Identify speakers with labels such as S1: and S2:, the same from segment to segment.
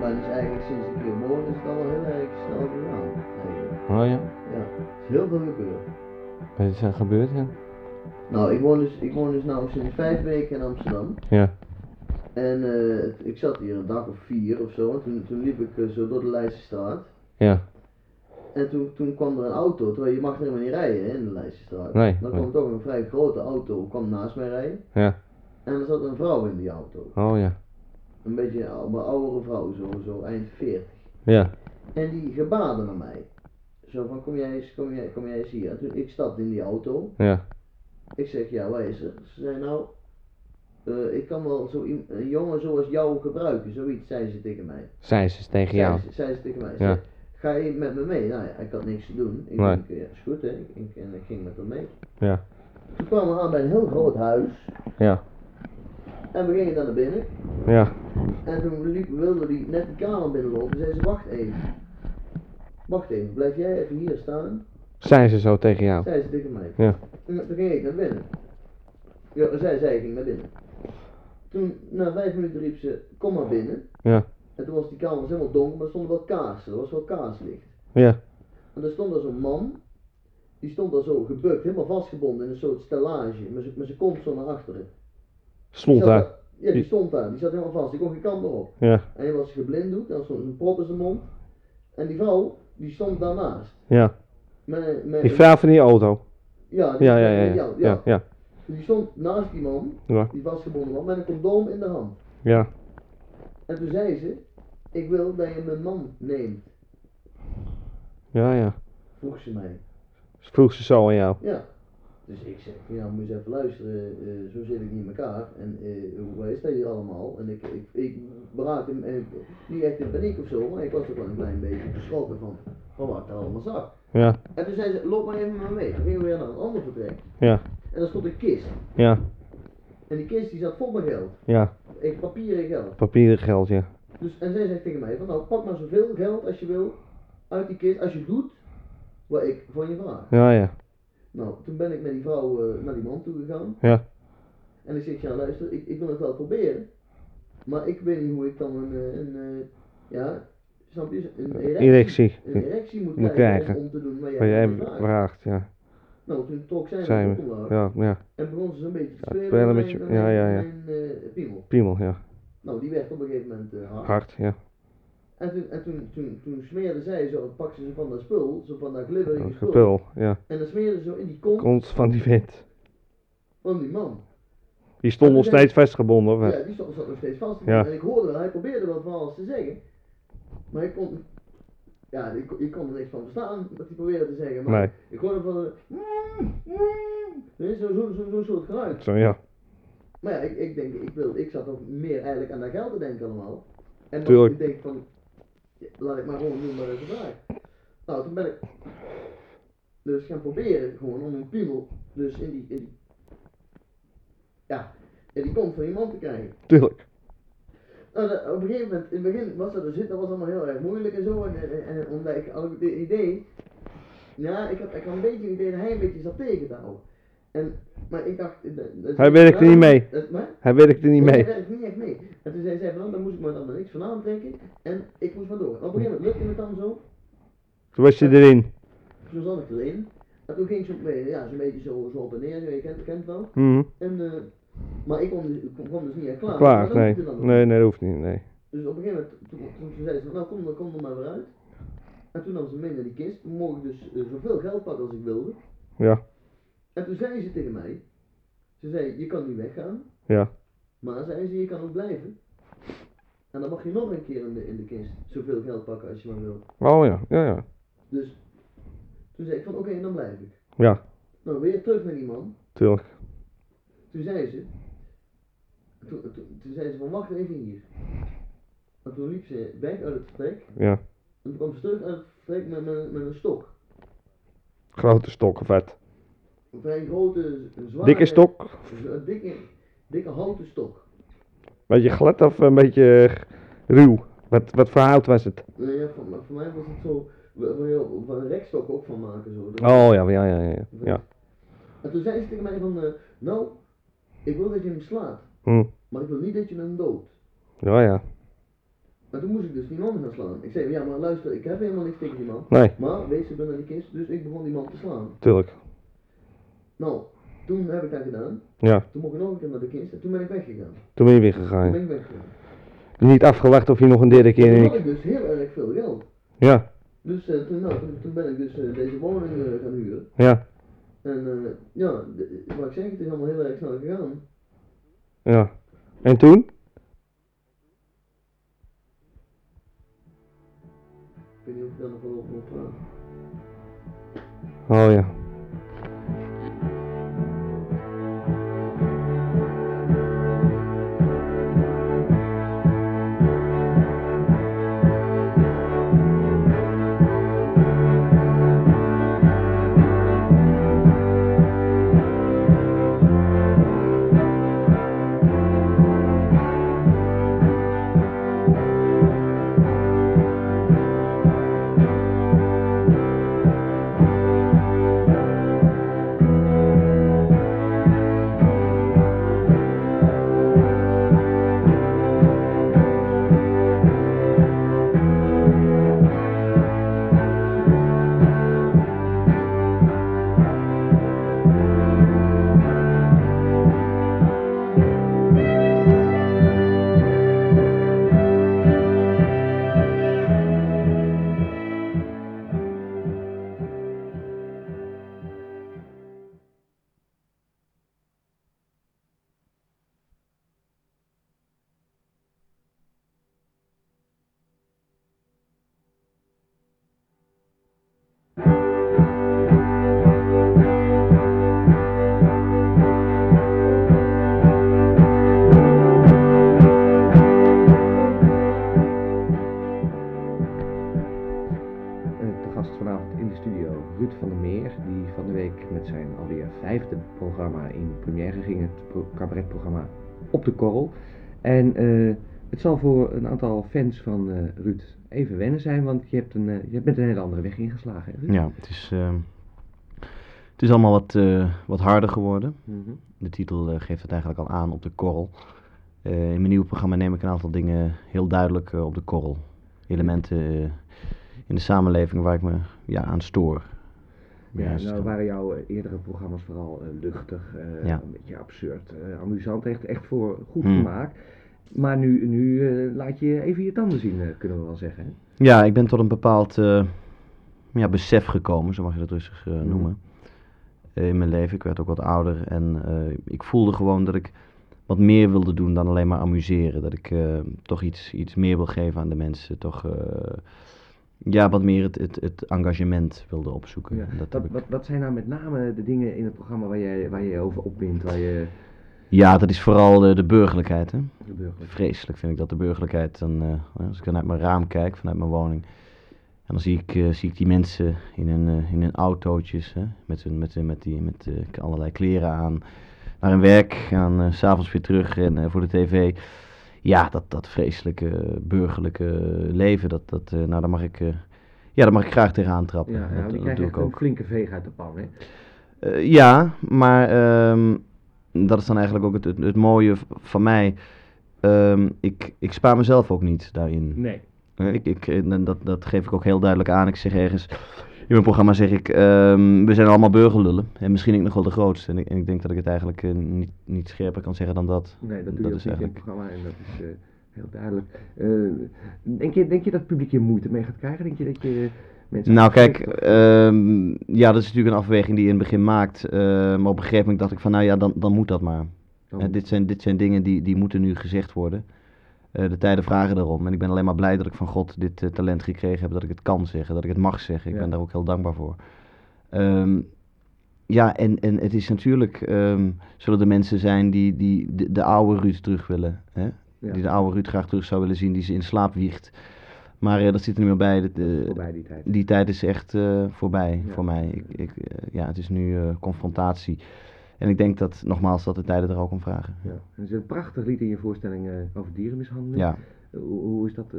S1: maar het is eigenlijk sinds ik hier woon is het al heel erg snel gegaan. Eigenlijk.
S2: Oh ja,
S1: Ja, er is heel veel gebeurd.
S2: wat is er gebeurd? hè?
S1: Nou, ik woon dus, ik woon dus nou sinds vijf weken in Amsterdam.
S2: Ja,
S1: En eh, ik zat hier een dag of vier of zo. En toen, toen liep ik eh, zo door de Leidsestraat.
S2: ja,
S1: En toen, toen kwam er een auto, terwijl je mag helemaal niet rijden hè, in de Leidsestraat.
S2: Nee,
S1: Dan
S2: nee.
S1: kwam toch een vrij grote auto, kwam naast mij rijden.
S2: ja,
S1: En er zat een vrouw in die auto.
S2: oh ja,
S1: Een beetje een oude- oudere vrouw, zo, zo eind 40.
S2: ja,
S1: En die gebaarde naar mij. Zo van, kom jij eens, kom jij, kom jij eens hier. En toen, ik stapte in die auto.
S2: ja,
S1: Ik zeg, ja, waar is er? Ze zei, nou, eh, ik kan wel zo iem- een jongen zoals jou gebruiken. Zoiets, zei ze tegen mij.
S2: zij ze tegen jou.
S1: Zei, ze, zei ze tegen mij. Ze
S2: Ja.
S1: zei, Ga je met me mee? Nou ja, ik had niks te doen. Ik
S2: Nee.
S1: denk, ja, is goed hè. Ik, ik- en ik ging met haar mee.
S2: Ja.
S1: Toen kwamen we aan bij een heel groot huis.
S2: Ja.
S1: En we gingen dan naar binnen.
S2: Ja,
S1: En toen liep, wilde die net die kamer binnenlopen. Toen zei ze, wacht even. Wacht even, blijf jij even hier staan?
S2: zij ze zo tegen jou.
S1: Zei ze tegen mij.
S2: Ja.
S1: En toen ging ik naar binnen. Ja, zij, zij ging naar binnen. Toen, na vijf minuten riep ze, kom maar binnen.
S2: Ja.
S1: En toen was die kamer was helemaal donker, maar er stonden wel kaarsen. Er was wel kaarslicht.
S2: Ja.
S1: En er stond daar zo'n man. Die stond daar zo gebukt, helemaal vastgebonden in een soort stellage. Maar ze- maar ze komt zo naar achteren. Die
S2: Stond
S1: zat
S2: daar.
S1: Ja, die
S2: Die-
S1: stond daar. Die zat helemaal vast. Die kon geen kant meer op.
S2: Ja.
S1: En hij was geblinddoekt. En had zo'n zo'n prop in zijn mond. En die vrouw, die stond daarnaast.
S2: Ja.
S1: Met, met,
S2: Die vrouw van die auto.
S1: Ja, die,
S2: Ja, ja, ja. Ja,
S1: ja,
S2: ja. ja.
S1: Die stond naast die man,
S2: Ja.
S1: die vastgebonden man, met een condoom in de hand.
S2: ja.
S1: En toen zei ze, ik wil dat je mijn man neemt,
S2: Ja, ja.
S1: vroeg ze mij.
S2: Vroeg ze zo aan jou.
S1: Ja. Dus ik zeg, ja, moet je eens even luisteren, eh, zo zit ik niet in elkaar. En eh, hoe is dat hier allemaal? En ik, ik, ik raakte hem, eh, niet echt in paniek of zo, maar ik was toch wel een klein beetje geschrokken van, van wat ik daar allemaal zag.
S2: Ja.
S1: En toen zei ze, loop maar even met me mee. Toen gingen we weer naar een ander vertrek.
S2: Ja.
S1: En daar stond een kist.
S2: Ja.
S1: En die kist die zat vol met geld.
S2: Ja.
S1: Ik papieren geld.
S2: Papieren geld, ja.
S1: Dus, en zij zegt tegen mij, van, nou pak maar zoveel geld als je wil uit die kist, als je doet wat ik van je vraag.
S2: Ja, ja.
S1: Nou, toen ben ik met die vrouw eh, naar die man toe gegaan.
S2: Ja.
S1: En ik zeg, ja luister, ik, ik wil het wel proberen, maar ik weet niet hoe ik dan een, eh, een eh, ja, snap je, een erectie,
S2: Erectie.
S1: een erectie moet,
S2: Moet
S1: krijgen,
S2: krijgen.
S1: Om, om te doen wat
S2: Wat
S1: jij
S2: jij
S1: van me vraagt.
S2: vraagt, ja.
S1: Nou, toen trok zij
S2: Zij
S1: mijn
S2: me.
S1: broek omlaag
S2: Ja, ja.
S1: en begon ze zo'n beetje te spelen
S2: spelen
S1: met
S2: met
S1: mijn,
S2: je- ja, ja, ja.
S1: mijn, eh, piemel.
S2: Piemel, ja.
S1: Nou, die werd op een gegeven moment eh, hard.
S2: Hard, ja.
S1: En toen, en toen, toen, toen smeerde zij zo, pakte ze van dat spul, zo van dat glibberige spul.
S2: Gepul, ja.
S1: En dan smeerde ze zo in die kont
S2: Kont van die wind.
S1: van die man.
S2: Die stond nog steeds vastgebonden, of wat?
S1: Ja, die stond, zat nog steeds vast.
S2: Ja.
S1: En ik hoorde wel, hij probeerde wel van alles te zeggen. Maar ik kon, ja, ik, ik kon er niks van verstaan wat hij probeerde te zeggen. Maar
S2: Nee.
S1: ik hoorde van, eh, er is zo'n zo, zo, zo'n soort geluid.
S2: Zo, ja.
S1: Maar ja, ik, ik denk, ik, wil, ik zat nog meer eigenlijk aan dat geld te denken allemaal. En dan
S2: Tuurlijk.
S1: ik denk van, ja, laat ik maar gewoon doen wat ik vraag. Nou, toen ben ik dus gaan proberen gewoon om een piemel dus in die, in die, ja, in die kont van iemand te krijgen.
S2: Tuurlijk.
S1: Nou, dat- op een gegeven moment, in het begin was dat dus, dat was allemaal heel erg moeilijk en zo. En, en, en omdat ik al het idee, ja, ik had, ik had een beetje het idee dat hij een beetje zat tegen te houden. En, maar ik dacht... dat- dat-
S2: Hij werkte niet mee.
S1: Dat, maar,
S2: Hij werkte niet
S1: ik
S2: mee.
S1: werkte niet echt mee. En toen zei zij van, nou, dan moest ik maar dan maar niks van aantrekken. En ik moest maar door. En op een gegeven moment lukte het dan zo.
S2: Toen was je erin.
S1: Toen zat ik erin. En toen ging ze op me- ja, zo'n beetje zo, zo op en neer. Je kent, kent wel.
S2: Mhm.
S1: En, eh, maar ik kon, dus- ik kon- kwam dus niet echt klaar. Maar
S2: Klaar,
S1: dat
S2: nee.
S1: hoefde dan ook.
S2: Nee, nee, dat hoeft niet, nee.
S1: Dus op een gegeven moment, toen, toen ze zei ze, van, nou kom, dan kom er maar weer uit. En toen nam ze mee naar die kist. Toen mocht ik dus eh, zoveel geld pakken als ik wilde.
S2: Ja.
S1: En toen zei ze tegen mij. Ze zei, je kan nu weggaan.
S2: Ja.
S1: Maar zei ze, je kan ook blijven. En dan mag je nog een keer in de, in de kist zoveel geld pakken als je maar wil.
S2: Oh ja, ja, ja.
S1: Dus toen zei ik van, oké, dan blijf ik.
S2: Ja.
S1: Nou, weer terug naar die man.
S2: Tuurlijk.
S1: Toen zei ze, toen, toen, toen zei ze van, wacht even hier. En toen liep ze weg uit het vertrek.
S2: Ja.
S1: En toen kwam ze terug uit het vertrek met, met, met een stok.
S2: Grote stok of wat?
S1: Een vrij grote, een zware...
S2: Dikke stok?
S1: Een dikke, dikke houten stok.
S2: Beetje glad of een beetje eh, ruw? Wat, wat voor hout was het?
S1: Nou ja, voor, voor mij was het zo, waar waar je waar een rekstok ook van maken zo. Dat-
S2: Oh ja, ja, ja, ja. ja.
S1: En toen zei ze tegen mij van, eh, nou, ik wil dat je hem slaat,
S2: Hm.
S1: maar ik wil niet dat je hem doodt.
S2: Ja, ja.
S1: Maar toen moest ik dus die man gaan slaan. Ik zei, ja maar luister, ik heb helemaal niks tegen die man.
S2: Nee,
S1: Maar wees er binnen de kist, dus ik begon die man te slaan.
S2: tuurlijk.
S1: Nou, toen heb ik dat gedaan.
S2: Ja. Ah,
S1: Toen mocht ik nog een keer naar de kist en toen ben ik weggegaan.
S2: Toen ben je weer
S1: Toen
S2: gegaan.
S1: ben ik weggegaan.
S2: Niet afgewacht of je nog een derde keer
S1: Toen had
S2: in.
S1: ik dus heel erg veel geld.
S2: Ja,
S1: Dus eh, toen, nou, toen, toen ben ik dus eh, deze woning eh, gaan huren.
S2: ja,
S1: En eh, ja, de- wat ik zeg, het is allemaal heel erg snel gegaan.
S2: ja. En toen?
S1: Ik weet niet of ik daar nog wel over moet praten.
S2: Oh ja.
S3: Eh, te gast vanavond in de studio Ruud van der Meer, die van de week met zijn alweer vijfde programma in première ging, het pro- cabaretprogramma Op de Korrel. En eh, het zal voor een aantal fans van eh, Ruud even wennen zijn, want je hebt, een, eh, je bent een hele andere weg ingeslagen. Hè, Ruud?
S4: Ja, het is, ehm, het is allemaal wat, eh, wat harder geworden.
S3: Mhm.
S4: De titel eh, geeft het eigenlijk al aan op de korrel. Eh, in mijn nieuwe programma neem ik een aantal dingen heel duidelijk eh, op de korrel. Elementen eh, in de samenleving waar ik me ja, aan stoor.
S3: Ja,
S4: Juist,
S3: nou
S4: ja.
S3: waren jouw eh, eerdere programma's vooral eh, luchtig, eh,
S4: Ja.
S3: een beetje absurd, eh, amusant, echt, echt voor goed
S4: Hmm.
S3: gemaakt. Maar nu, nu eh, laat je even je tanden zien, eh, kunnen we wel zeggen. Hè?
S4: Ja, ik ben tot een bepaald eh, ja, besef gekomen, zo mag je dat rustig eh, noemen. eh, in mijn leven. Ik werd ook wat ouder en eh, ik voelde gewoon dat ik wat meer wilde doen dan alleen maar amuseren. Dat ik eh, toch iets, iets meer wil geven aan de mensen. Toch eh, ja, wat meer het, het, het engagement wilde opzoeken.
S3: Ja,
S4: En dat heb
S3: wat,
S4: ik-
S3: wat, wat zijn nou met name de dingen in het programma waar jij waar je over opwindt, waar je
S4: ja, dat is vooral de, de burgerlijkheid. Hè?
S3: de burger...
S4: Vreselijk vind ik dat de burgerlijkheid. Dan, eh, als ik dan uit mijn raam kijk, vanuit mijn woning. En dan zie ik, eh, zie ik die mensen in hun, eh, in hun autootjes. Hè, met, hun, met, hun- met, die, met eh, allerlei kleren aan. Naar hun werk. En dan eh, s s'avonds weer terug en, eh, voor de tv. Ja, dat, dat vreselijke burgerlijke leven. Dat, dat, eh, nou, daar mag ik, eh, ja, daar mag ik graag tegenaan trappen.
S3: Ja,
S4: dat,
S3: nou, die
S4: dat
S3: krijgt
S4: doe
S3: echt
S4: ik
S3: een
S4: ook.
S3: flinke veeg uit de pan, hè?
S4: Eh, ja, maar ehm, dat is dan eigenlijk ook het, het, het mooie v- van mij. Ehm, ik, ik spaar mezelf ook niet daarin.
S3: Nee.
S4: Eh, Ik, ik, eh, en dat, dat geef ik ook heel duidelijk aan. Ik zeg ergens in mijn programma zeg ik, ehm, we zijn allemaal burgerlullen. En misschien ik nog wel de grootste. En ik, en ik denk dat ik het eigenlijk eh, niet, niet scherper kan zeggen dan dat.
S3: Nee, dat doe
S4: Dat
S3: je ook
S4: is
S3: niet in het programma en dat is eh, heel duidelijk. Eh, denk, je, denk je dat het publiek hier moeite mee gaat krijgen? Denk je dat je mensen...
S4: Nou kijk,
S3: afschrikt?
S4: ehm, ja, dat is natuurlijk een afweging die je in het begin maakt. eh, maar op een gegeven moment dacht ik van, nou ja, dan, dan moet dat maar.
S3: Dan-
S4: Eh, dit, zijn, dit zijn dingen die, die moeten nu gezegd worden. Eh, de tijden vragen daarom. En ik ben alleen maar blij dat ik van God dit eh, talent gekregen heb. Dat ik het kan zeggen, dat ik het mag zeggen. Ik
S3: Ja.
S4: ben daar ook heel dankbaar voor. Ehm, ja, en, en het is natuurlijk... ehm, zullen er mensen zijn die, die de, de oude Ruud terug willen. Hè?
S3: Ja.
S4: Die de oude Ruud graag terug zou willen zien, die ze in slaap wiegt. Maar eh, dat zit er niet meer bij. Dat, eh,
S3: voorbij die tijd.
S4: die tijd is echt eh, voorbij
S3: Ja.
S4: voor mij. Ik, ik, eh, ja, het is nu eh, confrontatie. En ik denk dat, nogmaals, dat de tijden er ook om vragen.
S3: Ja. Er is een prachtig lied in je voorstelling eh, over dierenmishandeling.
S4: Ja.
S3: Eh, hoe, hoe is dat? eh,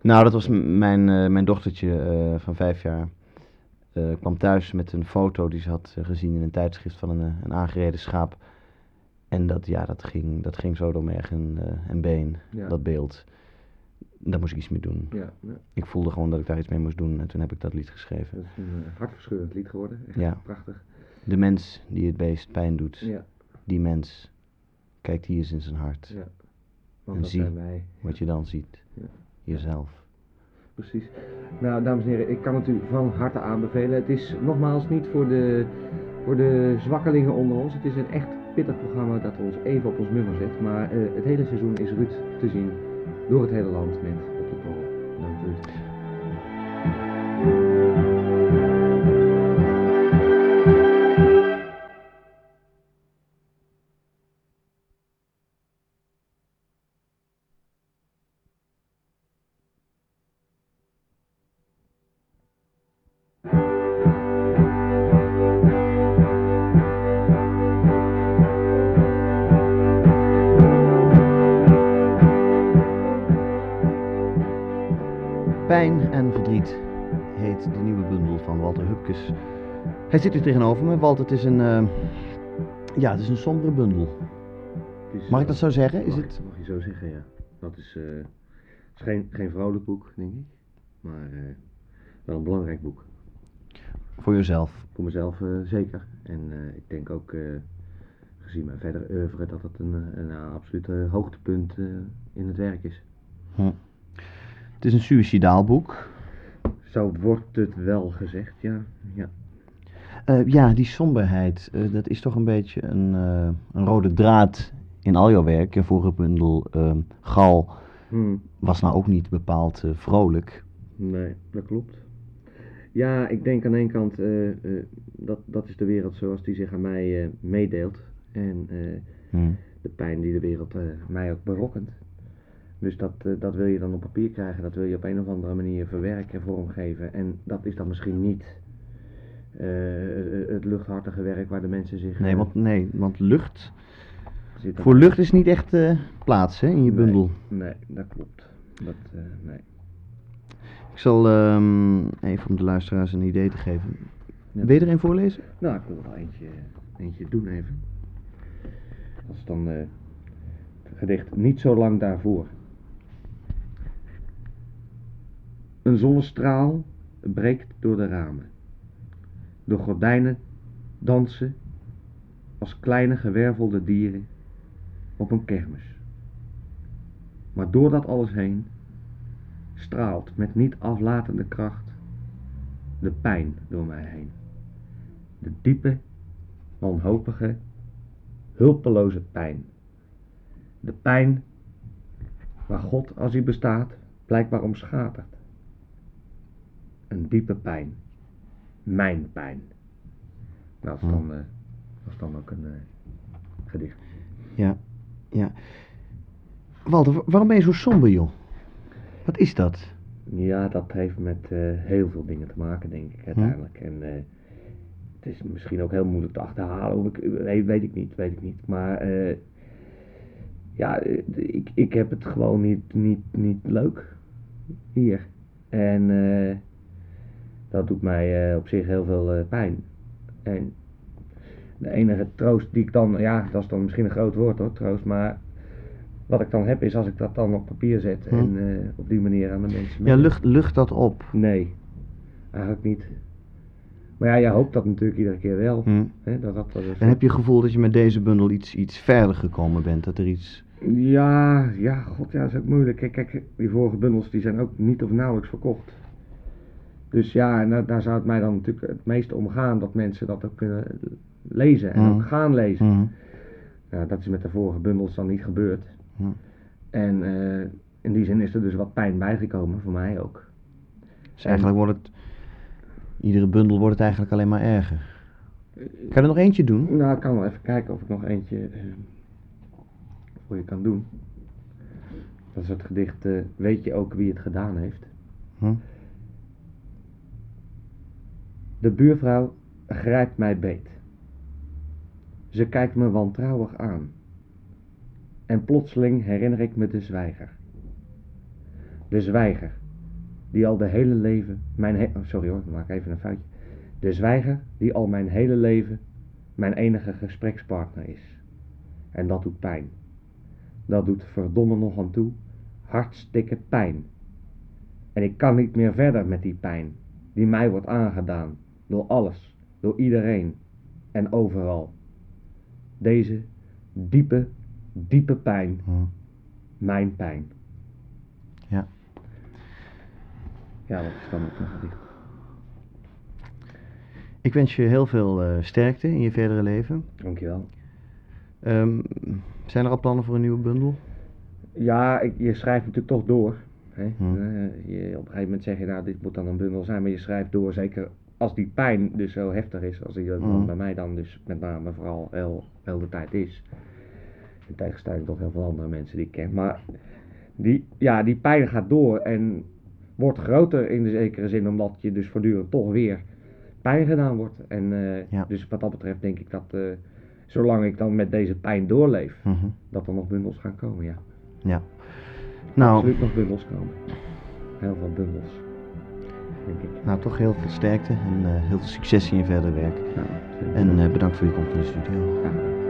S4: Nou, dat was m- mijn, eh, mijn dochtertje eh, van vijf jaar. eh, kwam thuis met een foto die ze had eh, gezien in een tijdschrift van een, eh, een aangereden schaap. En dat, ja, dat, ging, dat ging zo door merg en, eh, en been,
S3: Ja.
S4: dat beeld. Daar moest ik iets mee doen.
S3: Ja, ja,
S4: Ik voelde gewoon dat ik daar iets mee moest doen en toen heb ik dat lied geschreven.
S3: dat is een eh, hartverscheurend lied geworden. Echt
S4: Ja.
S3: prachtig.
S4: De mens die het beest pijn doet,
S3: Ja,
S4: die mens kijkt hier eens in zijn hart.
S3: ja.
S4: En
S3: Want dat
S4: zie.
S3: zijn wij.
S4: Wat je dan ziet,
S3: Ja.
S4: jezelf.
S3: Precies. Nou, dames en heren, ik kan het u van harte aanbevelen. Het is nogmaals niet voor de, voor de zwakkelingen onder ons. Het is een echt pittig programma dat ons even op ons nummer zet. Maar eh, het hele seizoen is Ruud te zien door het hele land met op de korrel. Dank Ruud.
S4: Pijn en verdriet heet de nieuwe bundel van Walter Hupkes. Hij zit hier tegenover me. Walter, het is een, eh, ja, het is een sombere bundel.
S3: Het is,
S4: Mag ik
S3: eh,
S4: dat zo zeggen? Is
S3: mag,
S4: het...
S3: mag je zo zeggen, ja. Dat is, eh, het is geen, geen vrolijk boek, denk ik. Maar eh, wel een belangrijk boek.
S4: Voor jezelf.
S3: Voor mezelf eh, zeker. En eh, ik denk ook, eh, gezien mijn verdere oeuvre, dat het een, eh, een absoluut eh, hoogtepunt eh, in het werk is.
S4: Hm. Het is een suïcidaal boek.
S3: Zo wordt het wel gezegd, ja. ja.
S4: Eh, ja, die somberheid, eh, dat is toch een beetje een, eh, een rode draad in al jouw werk. Je vorige bundel, ehm, Gal,
S3: Hm,
S4: was nou ook niet bepaald eh, vrolijk.
S3: nee, dat klopt. Ja, ik denk aan de ene kant, eh, eh, dat, dat is de wereld zoals die zich aan mij eh, meedeelt. En eh,
S4: Hm.
S3: de pijn die de wereld eh, mij ook berokkent. Dus dat, eh, dat wil je dan op papier krijgen, dat wil je op een of andere manier verwerken en vormgeven. En dat is dan misschien niet eh, eh, het luchthartige werk waar de mensen zich.
S4: Nee,
S3: eh,
S4: want, nee, want lucht...
S3: zitten-
S4: Voor lucht is niet echt eh, plaats hè, in je
S3: Nee.
S4: bundel.
S3: Nee, dat klopt. Dat, eh, nee.
S4: Ik zal ehm, even om de luisteraars een idee te geven.
S3: Ja.
S4: Wil je er een voorlezen?
S3: Nou, ik wil er wel eentje, eentje doen even. Dat is dan eh, het gedicht Niet zo lang daarvoor. Een zonnestraal breekt door de ramen. De gordijnen dansen als kleine gewervelde dieren op een kermis. Maar door dat alles heen straalt met niet aflatende kracht de pijn door mij heen de diepe, wanhopige, hulpeloze pijn. De pijn waar God, als hij bestaat, blijkbaar om schatert. Een diepe pijn. Mijn pijn. Nou, dat is dan, eh, dat is dan ook een eh, gedicht.
S4: Ja. ja. Walter, wa- waarom ben je zo somber, joh? Wat is dat?
S3: Ja, dat heeft met eh, heel veel dingen te maken, denk ik, uiteindelijk. En eh, het is misschien ook heel moeilijk te achterhalen, want ik, weet, weet ik niet, weet ik niet. Maar eh, ja, eh, ik, ik heb het gewoon niet, niet, niet leuk hier. En eh, dat doet mij eh, op zich heel veel eh, pijn. En de enige troost die ik dan, ja, dat is dan misschien een groot woord hoor, troost, maar... Wat ik dan heb is als ik dat dan op papier zet
S4: Hm.
S3: en eh, op die manier aan de mensen
S4: Ja,
S3: mee-
S4: lucht, lucht dat op.
S3: Nee, eigenlijk niet. Maar ja, je hoopt dat natuurlijk iedere keer wel.
S4: Hm.
S3: Hè, dat, dat, dat is-
S4: En heb je het gevoel dat je met deze bundel iets, iets verder gekomen bent? Dat er iets...
S3: Ja, ja, god, ja, dat is ook moeilijk. Kijk, kijk, die vorige bundels die zijn ook niet of nauwelijks verkocht. Dus ja, en daar, daar zou het mij dan natuurlijk het meest om gaan dat mensen dat ook kunnen lezen en
S4: Mhm.
S3: ook gaan lezen.
S4: Hm.
S3: Nou, dat is met de vorige bundels dan niet gebeurd.
S4: Ja.
S3: En eh, in die zin is er dus wat pijn bijgekomen, voor mij ook.
S4: Dus eigenlijk wordt het... Iedere bundel wordt het eigenlijk alleen maar erger. Kan je er nog eentje doen?
S3: Nou, ik kan wel even kijken of ik nog eentje eh, voor je kan doen. Dat is het gedicht eh, Weet je ook wie het gedaan heeft?
S4: Hm.
S3: De buurvrouw grijpt mij beet. Ze kijkt me wantrouwig aan. En plotseling herinner ik me de zwijger. De zwijger, die al de hele leven mijn... he- oh, sorry hoor, ik maak even een foutje. De zwijger die al mijn hele leven mijn enige gesprekspartner is. En dat doet pijn. Dat doet verdomme nog aan toe hartstikke pijn. En ik kan niet meer verder met die pijn, die mij wordt aangedaan, door alles, door iedereen en overal. Deze diepe, diepe pijn,
S4: Hm.
S3: mijn pijn.
S4: Ja.
S3: Ja, wat is dan ook nog niet?
S4: Ik wens je heel veel eh, sterkte in je verdere leven.
S3: Dankjewel.
S4: Ehm, zijn er al plannen voor een nieuwe bundel?
S3: Ja, ik- je schrijft natuurlijk toch door. Hè?
S4: Hmm.
S3: Eh, je, op een gegeven moment zeg je, nou, dit moet dan een bundel zijn, maar je schrijft door. Zeker als die pijn dus zo heftig is, als die dat dan
S4: Hmm.
S3: bij mij dan dus met name vooral wel, wel de tijd is. In tegenstelling tot heel veel andere mensen die ik ken. Maar die, ja, die pijn gaat door en wordt groter in de zekere zin, omdat je dus voortdurend toch weer pijn gedaan wordt. En eh,
S4: Ja.
S3: dus wat dat betreft denk ik dat, eh, zolang ik dan met deze pijn doorleef, dat er nog bundels gaan komen, ja.
S4: Ja. Nou,
S3: Absoluut nog bundels komen. Heel veel bundels. Denk ik.
S4: nou, toch heel veel sterkte en eh, heel veel succes in je verder werk.
S3: Nou,
S4: En eh, bedankt voor je komst in de studio.
S3: ja.